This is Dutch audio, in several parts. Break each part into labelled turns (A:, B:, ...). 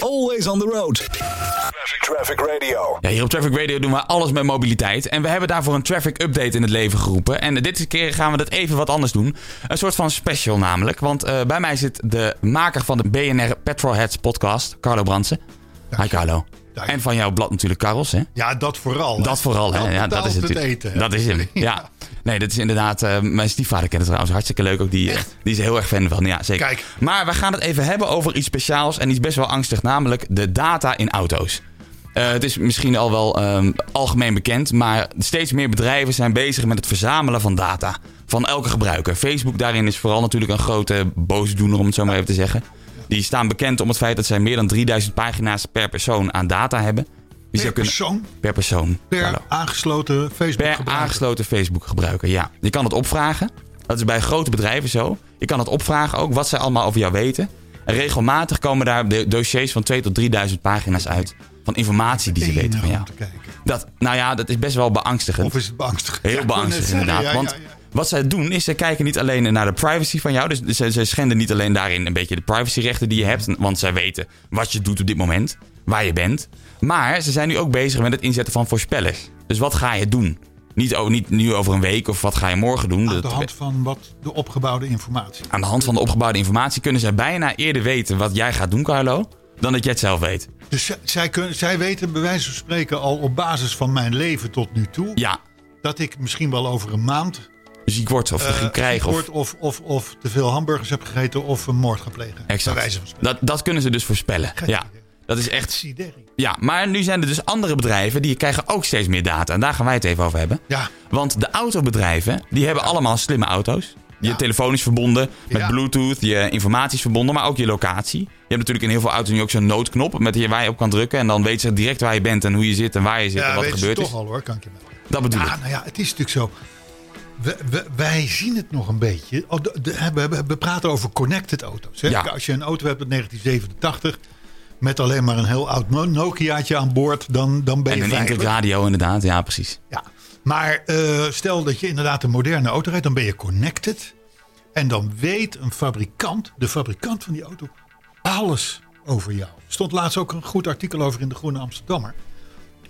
A: Always on the road.
B: Traffic, Traffic Radio.
C: Ja, hier op Traffic Radio doen we alles met mobiliteit. En we hebben daarvoor een traffic update in het leven geroepen. En dit keer gaan we dat even wat anders doen. Een soort van special namelijk. Want eh, bij mij zit de maker van de BNR Petrolheads podcast, Carlo Brandsen. Hi Carlo.
D: Dank je.
C: En van jouw blad natuurlijk Carlos, hè?
D: Ja, dat vooral. hè.
C: Ah, Dat vooral, hè?
D: Dat
C: Ja, dat
D: betaalt
C: is het.
D: het eten. hè.
C: Dat is hem. Ja. Nee, dat is inderdaad. eh, mijn stiefvader kent het trouwens hartstikke leuk. Ook die, eh, die is er heel erg fan van. Ja, zeker.
D: Kijk.
C: Maar we gaan het even hebben over iets speciaals en iets best wel angstig, namelijk de data in auto's. Eh, het is misschien al wel ehm, algemeen bekend, maar steeds meer bedrijven zijn bezig met het verzamelen van data van elke gebruiker. Facebook daarin is vooral natuurlijk een grote boosdoener, om het zo maar even te zeggen. Die staan bekend om het feit dat zij meer dan 3000 pagina's per persoon aan data hebben. Dus Die
D: Per
C: ze kunnen-
D: persoon,
C: per persoon. Carlo.
D: per aangesloten Facebook
C: Per aangesloten Facebook gebruiker, ja. Je kan het opvragen. Dat is bij grote bedrijven zo. Je kan het opvragen ook, wat zij allemaal over jou weten. En regelmatig komen daar de- dossiers van 2.000 tot 3.000 pagina's uit. Van informatie die ze weten van jou.
D: Te kijken.
C: Dat, nou ja, dat is best wel beangstigend.
D: Of is het beangstigend? Ja,
C: Heel
D: ik wou net
C: beangstigend
D: zeggen,
C: inderdaad.
D: ja,
C: want
D: ja, ja.
C: wat zij doen is, zij kijken niet alleen naar de privacy van jou. Dus zij, zij schenden niet alleen daarin een beetje de privacyrechten die je hebt. Want zij weten wat je doet op dit moment, waar je bent. Maar ze zijn nu ook bezig met het inzetten van voorspellers. Dus wat ga je doen? Niet, o- niet nu over een week of wat ga je morgen doen.
D: Aan
C: Dat-
D: de hand van wat de opgebouwde informatie.
C: aan de hand van de opgebouwde informatie kunnen zij bijna eerder weten wat jij gaat doen, Carlo. Dan dat jij het zelf weet.
D: Dus zij, zij, kunnen, zij weten bij wijze van spreken al op basis van mijn leven tot nu toe...
C: Ja, dus
D: dat ik misschien wel over een maand
C: ziek wordt of
D: eh,
C: ging krijgen. Of,
D: word of, of, of te veel hamburgers heb gegeten of een moord ga plegen. Bij
C: exact.
D: wijze van spreken.
C: Dat, dat kunnen ze dus voorspellen. Ja, dat is echt
D: Sideri.
C: Ja, maar nu zijn er dus andere bedrijven die krijgen ook steeds meer data. En daar gaan wij het even over hebben.
D: Ja.
C: Want de autobedrijven, die hebben allemaal slimme auto's. Je
D: Ja.
C: telefoon is verbonden met
D: Ja.
C: Bluetooth, je informatie is verbonden, maar ook je locatie. Je hebt natuurlijk in heel veel auto's nu ook zo'n noodknop met die waar je op kan drukken. En dan weet ze direct waar je bent en hoe je zit en waar je zit en
D: Ja,
C: wat er
D: weten ze
C: gebeurd is.
D: toch al hoor, kan ik je melden.
C: Dat bedoel ik.
D: Ja, nou ja, het is natuurlijk zo. We, we- wij zien het nog een beetje. Oh, de- de- hè, we, we, we praten over connected auto's. Hè?
C: Ja.
D: Als je een auto hebt uit 1987 met alleen maar een heel oud No- Nokiaatje aan boord, dan, dan ben
C: En
D: je
C: een
D: veilig.
C: interradio inderdaad, ja precies.
D: Ja. Maar eh, stel dat je inderdaad een moderne auto rijdt, dan ben je connected. En dan weet een fabrikant, de fabrikant van die auto, alles over jou. Er stond laatst ook een goed artikel over in de Groene Amsterdammer.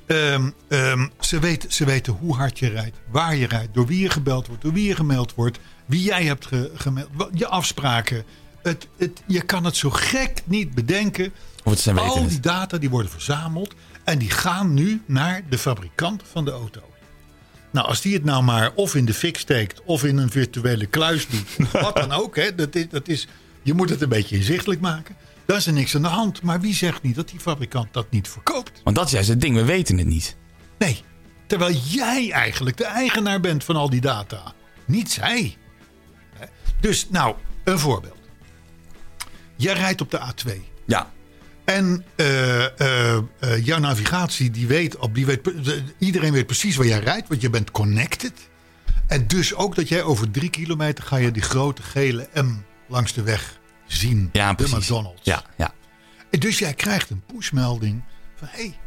D: Ehm, ehm, ze, weet, ze weten hoe hard je rijdt, waar je rijdt, door wie je gebeld wordt, door wie je gemaild wordt, wie jij hebt ge- gemaild, wa- je afspraken. Het, het, je kan het zo gek niet bedenken.
C: Of het zijn weten
D: Al die
C: het.
D: data die worden verzameld en die gaan nu naar de fabrikant van de auto. Nou, als die het nou maar of in de fik steekt of in een virtuele kluis doet, wat dan ook, hè, dat is, dat is, je moet het een beetje inzichtelijk maken. Dan is er niks aan de hand. Maar wie zegt niet dat die fabrikant dat niet verkoopt?
C: Want dat is juist het ding, we weten het niet.
D: Nee, terwijl jij eigenlijk de eigenaar bent van al die data. Niet zij. Hè? Dus nou, een voorbeeld. Jij rijdt op de A2.
C: Ja,
D: En eh, eh, eh, jouw navigatie, die weet, op- die weet, pre- de- iedereen weet precies waar jij rijdt, want je bent connected. En dus ook dat jij over drie kilometer ga je die grote gele M langs de weg zien.
C: ja
D: de
C: precies.
D: McDonald's.
C: Ja, ja.
D: En dus jij krijgt een pushmelding van hé, hey,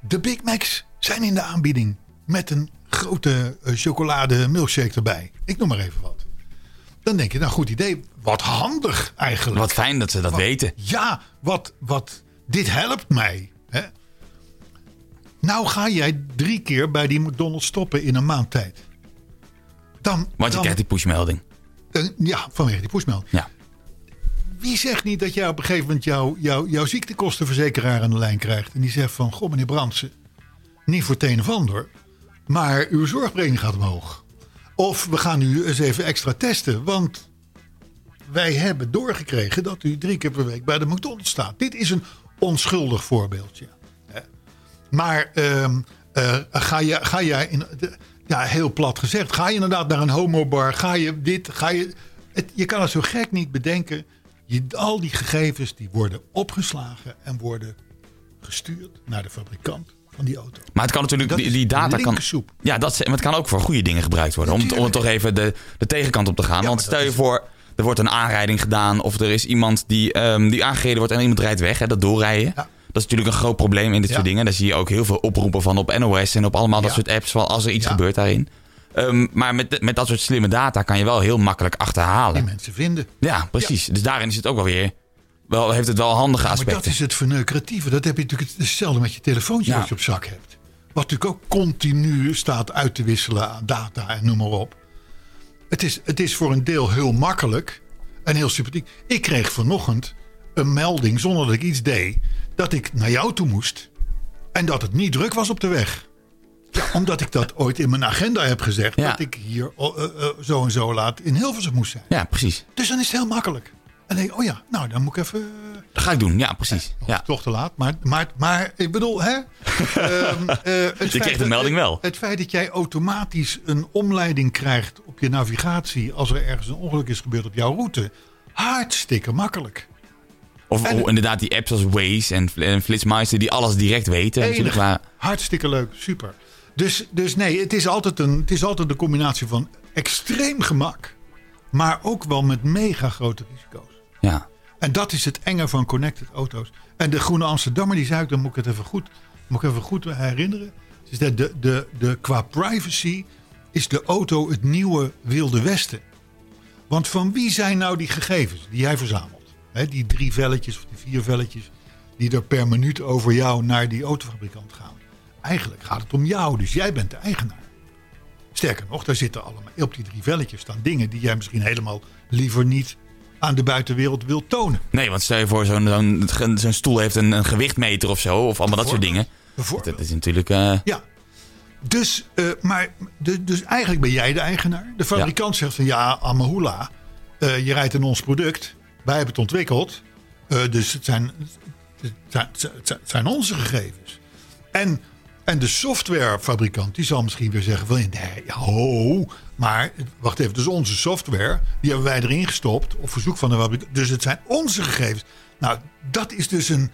D: de Big Macs zijn in de aanbieding met een grote eh, chocolade milkshake erbij. Ik noem maar even wat. Dan denk je, nou goed idee, wat handig eigenlijk.
C: Wat fijn dat ze dat weten.
D: Ja, wat, wat, dit helpt mij. Hè? Nou ga jij drie keer bij die McDonald's stoppen in een maand tijd. Dan,
C: Want je
D: dan-
C: krijgt die pushmelding.
D: eh, ja, vanwege die pushmail.
C: Ja.
D: Wie zegt niet dat jij op een gegeven moment jouw jouw jouw ziektekostenverzekeraar aan de lijn krijgt. En die zegt van, goh meneer Brandsen, niet voor het een of ander. Maar uw zorgpremie gaat omhoog. Of we gaan u eens even extra testen. Want wij hebben doorgekregen dat u drie keer per week bij de McDonald's staat. Dit is een onschuldig voorbeeldje. Hè. Maar ehm, eh, ga, je, ga jij, in, de- ja, heel plat gezegd, ga je inderdaad naar een homobar? Ga je dit? Ga je, het, je kan het zo gek niet bedenken. Je, al die gegevens die worden opgeslagen en worden gestuurd naar de fabrikant van die auto.
C: Maar het kan natuurlijk,
D: Dat
C: die,
D: is
C: die data kan.
D: linkersoep.
C: Ja, dat, maar het kan ook voor goede dingen gebruikt worden. Om, het- om het toch even de, de tegenkant op te gaan. Want
D: maar
C: stel
D: dat
C: je
D: is-
C: voor, er wordt een aanrijding gedaan. of er is iemand die, ehm, die aangereden wordt en iemand rijdt weg. Hè, dat doorrijden.
D: Ja.
C: Dat is natuurlijk een groot probleem in dit
D: Ja.
C: soort dingen. Daar zie je ook heel veel oproepen van op NOS en op allemaal dat
D: Ja.
C: soort apps. Van als er iets
D: Ja.
C: gebeurt daarin. Ehm, maar met, met dat soort slimme data kan je wel heel makkelijk
D: Die
C: achterhalen.
D: mensen vinden.
C: Ja, precies. Dus daarin is het ook wel weer wel, heeft het wel handige
D: Maar
C: aspecten.
D: dat is het verneukeratieve. Dat heb je natuurlijk het- hetzelfde met je telefoontje
C: Ja.
D: wat je op zak hebt. Wat natuurlijk ook continu staat uit te wisselen aan data en noem maar op. Het is, het is voor een deel heel makkelijk en heel sympathiek. Ik kreeg vanochtend een melding zonder dat ik iets deed. Dat ik naar jou toe moest. En dat het niet druk was op de weg. Ja, omdat ik dat ooit in mijn agenda heb gezegd.
C: Ja.
D: Dat ik hier oh, eh, eh, zo en zo laat in Hilversum moest zijn.
C: Ja, precies.
D: Dus dan is het heel makkelijk. En dan denk ik, oh ja, nou dan moet ik even... eh,
C: Dat ga ik doen. Ja, precies.
D: of
C: Ja.
D: Toch te laat, maar, maar, maar ik bedoel, hè? Ehm, eh, het feit
C: kreeg de
D: dat-
C: melding wel.
D: Het feit dat jij automatisch een omleiding krijgt op je navigatie... als er ergens een ongeluk is gebeurd op jouw route. Hartstikke makkelijk.
C: Of
D: En-
C: oh, inderdaad die apps als Waze en, en Flitsmeister die alles direct weten. Natuurlijk,
D: Enig.
C: maar
D: Hartstikke leuk, super. Dus, dus nee, het is, altijd een, het is altijd een combinatie van extreem gemak... maar ook wel met mega grote risico's.
C: ja.
D: En dat is het enge van connected auto's. En de Groene Amsterdammer die zei ook, dan moet ik het even goed, moet ik even goed herinneren. Ze zei, de, de, de, qua privacy is de auto het nieuwe Wilde Westen. Want van wie zijn nou die gegevens die jij verzamelt? Hè, die drie velletjes of die vier velletjes die er per minuut over jou naar die autofabrikant gaan. Eigenlijk gaat het om jou, dus jij bent de eigenaar. Sterker nog, daar zitten allemaal op die drie velletjes staan dingen die jij misschien helemaal liever niet aan de buitenwereld wilt tonen.
C: Nee, want stel je voor, zo'n zo'n ge- zo'n stoel heeft een, een gewichtmeter of zo. Of allemaal dat soort dingen.
D: Bijvoorbeeld.
C: Dat is natuurlijk... eh,
D: Ja. Dus, eh, maar, de- dus eigenlijk ben jij de eigenaar. De fabrikant zegt van ja, Amahula, eh, je rijdt in ons product. Wij hebben het ontwikkeld. Eh, dus het zijn, het, zijn, het zijn- het zijn onze gegevens. En, en de softwarefabrikant die zal misschien weer zeggen van nee, ja, ho, maar wacht even, dus onze software, die hebben wij erin gestopt op verzoek van de fabrikant. Dus het zijn onze gegevens. Nou, dat is dus een,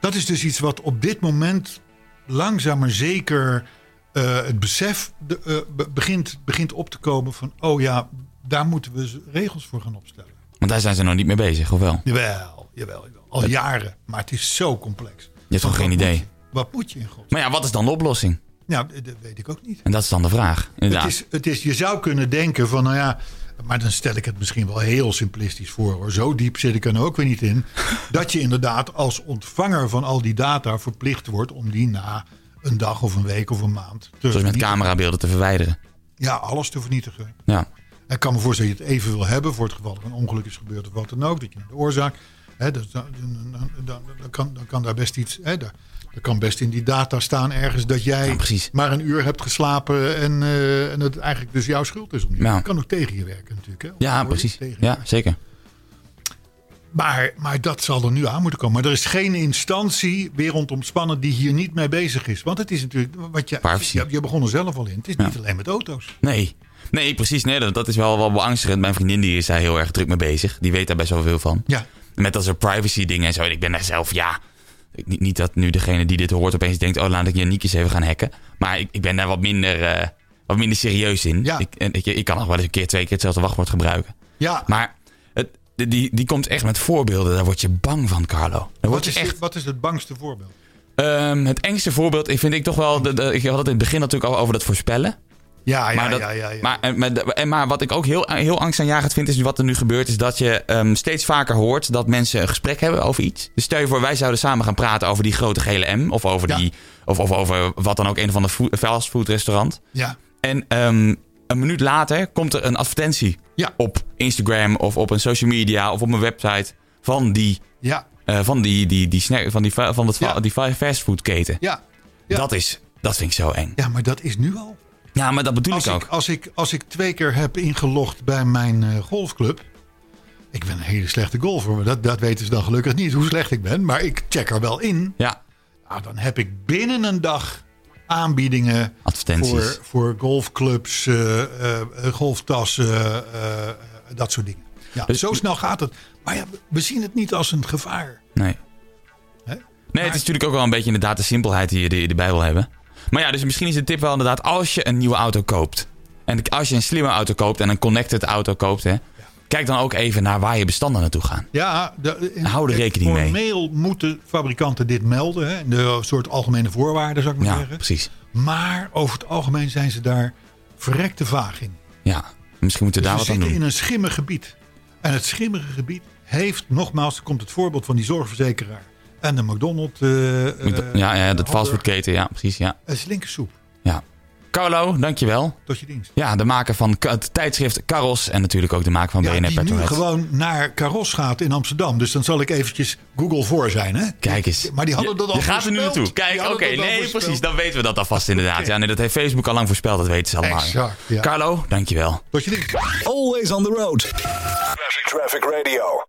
D: dat is dus iets wat op dit moment langzaam maar zeker eh, het besef de- eh, be- begint, begint op te komen van... oh ja, daar moeten we z- regels voor gaan opstellen.
C: Want daar zijn ze nog niet mee bezig, of wel?
D: Jawel, jawel, jawel. Al jaren, maar het is zo complex. Je
C: hebt gewoon geen idee.
D: wat moet je in God?
C: Maar ja, wat is dan de oplossing?
D: Nou, d- dat weet ik ook niet.
C: En dat is dan de vraag. Inderdaad.
D: Het is, het is, je zou kunnen denken van, nou ja, maar dan stel ik het misschien wel heel simplistisch voor hoor. Zo diep zit ik er nou ook weer niet in. Dat je inderdaad als ontvanger van al die data verplicht wordt om die na een dag of een week of een maand te
C: Zoals met
D: vernietigen.
C: camerabeelden te verwijderen.
D: Ja, alles te vernietigen.
C: Ja.
D: Ik kan me voorstellen dat je het even wil hebben voor het geval er een ongeluk is gebeurd of wat dan ook. Dat je de oorzaak. Hè, dus dan, dan, dan, dan, dan kan, dan kan daar best iets. Hè, daar, er kan best in die data staan ergens dat jij
C: Ja, precies.
D: maar een uur hebt geslapen. En, eh, en het eigenlijk dus jouw schuld is. Om die.
C: Ja.
D: Dat kan ook tegen je werken natuurlijk. Hè, Of
C: ja,
D: hoor je
C: precies.
D: tegen je
C: Ja, zeker.
D: maar, maar dat zal er nu aan moeten komen. Maar er is geen instantie weer rondomspannen die hier niet mee bezig is. Want het is natuurlijk. Wat je,
C: Privacy.
D: je, je begon er zelf al in. Het is niet alleen met auto's.
C: Nee. Nee, precies. Nee, dat, dat is wel, wel beangstigend. Mijn vriendin die is daar heel erg druk mee bezig. Die weet daar best wel veel van.
D: Ja.
C: Met dat soort privacy dingen en zo. En ik ben daar zelf, ja... Ik, niet, niet dat nu degene die dit hoort opeens denkt... Oh, laat ik Janiek eens even gaan hacken. Maar ik, ik ben daar wat minder, eh, wat minder serieus in.
D: Ja.
C: Ik, en, ik, ik kan nog wel eens een keer, twee keer hetzelfde wachtwoord gebruiken.
D: ja.
C: Maar het, die, die komt echt met voorbeelden. Daar word je bang van, Carlo. Daar word
D: Wat
C: je
D: is,
C: echt
D: dit- wat is het bangste voorbeeld?
C: Ehm, het engste voorbeeld vind ik toch wel. De, de- ik had het in het begin natuurlijk al over dat voorspellen.
D: Ja, ja,
C: Maar, dat,
D: ja, ja, ja.
C: Maar, en- maar, en- maar wat ik ook heel, eh, heel angstaanjagend vind, is dus wat er nu gebeurt, is dat je ehm, steeds vaker hoort dat mensen een gesprek hebben over iets. Dus stel je voor, wij zouden samen gaan praten over die grote gele M. Of over,
D: Ja.
C: die, of, of over wat dan ook, een van de fastfoodrestaurant.
D: ja.
C: En ehm, een minuut later komt er een advertentie
D: Ja.
C: op Instagram of op een social media of op een website van die,
D: Ja,
C: eh, van die, die, die, snack, van die, fa- van dat, fa-
D: Ja.
C: die fa- fastfoodketen.
D: ja. Ja.
C: Dat, is, dat vind ik zo eng.
D: ja, maar dat is nu al.
C: Ja, maar dat bedoel
D: Als
C: ik ook.
D: ik, als, ik, als ik twee keer heb ingelogd bij mijn eh, golfclub. Ik ben een hele slechte golfer, maar dat, dat weten ze dan gelukkig niet hoe slecht ik ben. Maar ik check er wel in.
C: Ja,
D: Ah, dan heb ik binnen een dag aanbiedingen voor,
C: advertenties.
D: voor golfclubs, eh, eh, eh, golftassen, eh, eh, dat soort dingen. Ja,
C: Dus-
D: zo snel gaat het. Maar ja, we- we zien het niet als een gevaar.
C: Nee.
D: Hè?
C: Nee, het is natuurlijk ook wel een beetje inderdaad de simpelheid die je, die je erbij wil hebben. Maar ja, dus misschien is de tip wel inderdaad als je een nieuwe auto koopt. En als je een slimme auto koopt en een connected auto koopt, hè, kijk dan ook even naar waar je bestanden naartoe gaan.
D: Ja, de, in-
C: Hou er rekening mee.
D: Formeel moeten fabrikanten dit melden. Hè? De soort algemene voorwaarden, zou ik maar
C: Ja,
D: zeggen.
C: precies.
D: Maar over het algemeen zijn ze daar verrekte vaag in.
C: Ja, misschien moeten we
D: Ze
C: daar wat aan
D: Dus zitten in
C: doen.
D: een schimmig gebied. En het schimmige gebied heeft, nogmaals, komt het voorbeeld van die zorgverzekeraar en de McDonald's. eh, eh,
C: ja, ja, dat
D: hamburger.
C: fastfoodketen, ja, precies, ja.
D: Het is linkersoep,
C: ja. Carlo, dankjewel.
D: tot je dienst.
C: Ja, de maker van ka- het tijdschrift Karos en natuurlijk ook de maker van
D: Ja,
C: BNR
D: die nu
C: Petrohead.
D: gewoon naar Caros gaat in Amsterdam. Dus dan zal ik eventjes Google voor zijn, hè?
C: Kijk eens.
D: Maar die hadden
C: Je-
D: dat al
C: Je gaat er nu
D: voorspeld.
C: naartoe. Kijk,
D: Die
C: oké,
D: hadden dat al
C: nee,
D: voorspeld.
C: precies, dan weten we dat alvast inderdaad. Ja, nee, dat heeft Facebook al lang voorspeld, dat weten ze allemaal.
D: Exact, ja.
C: Carlo, dankjewel.
D: Tot je dienst.
A: Always on the road.
B: Classic Traffic Radio.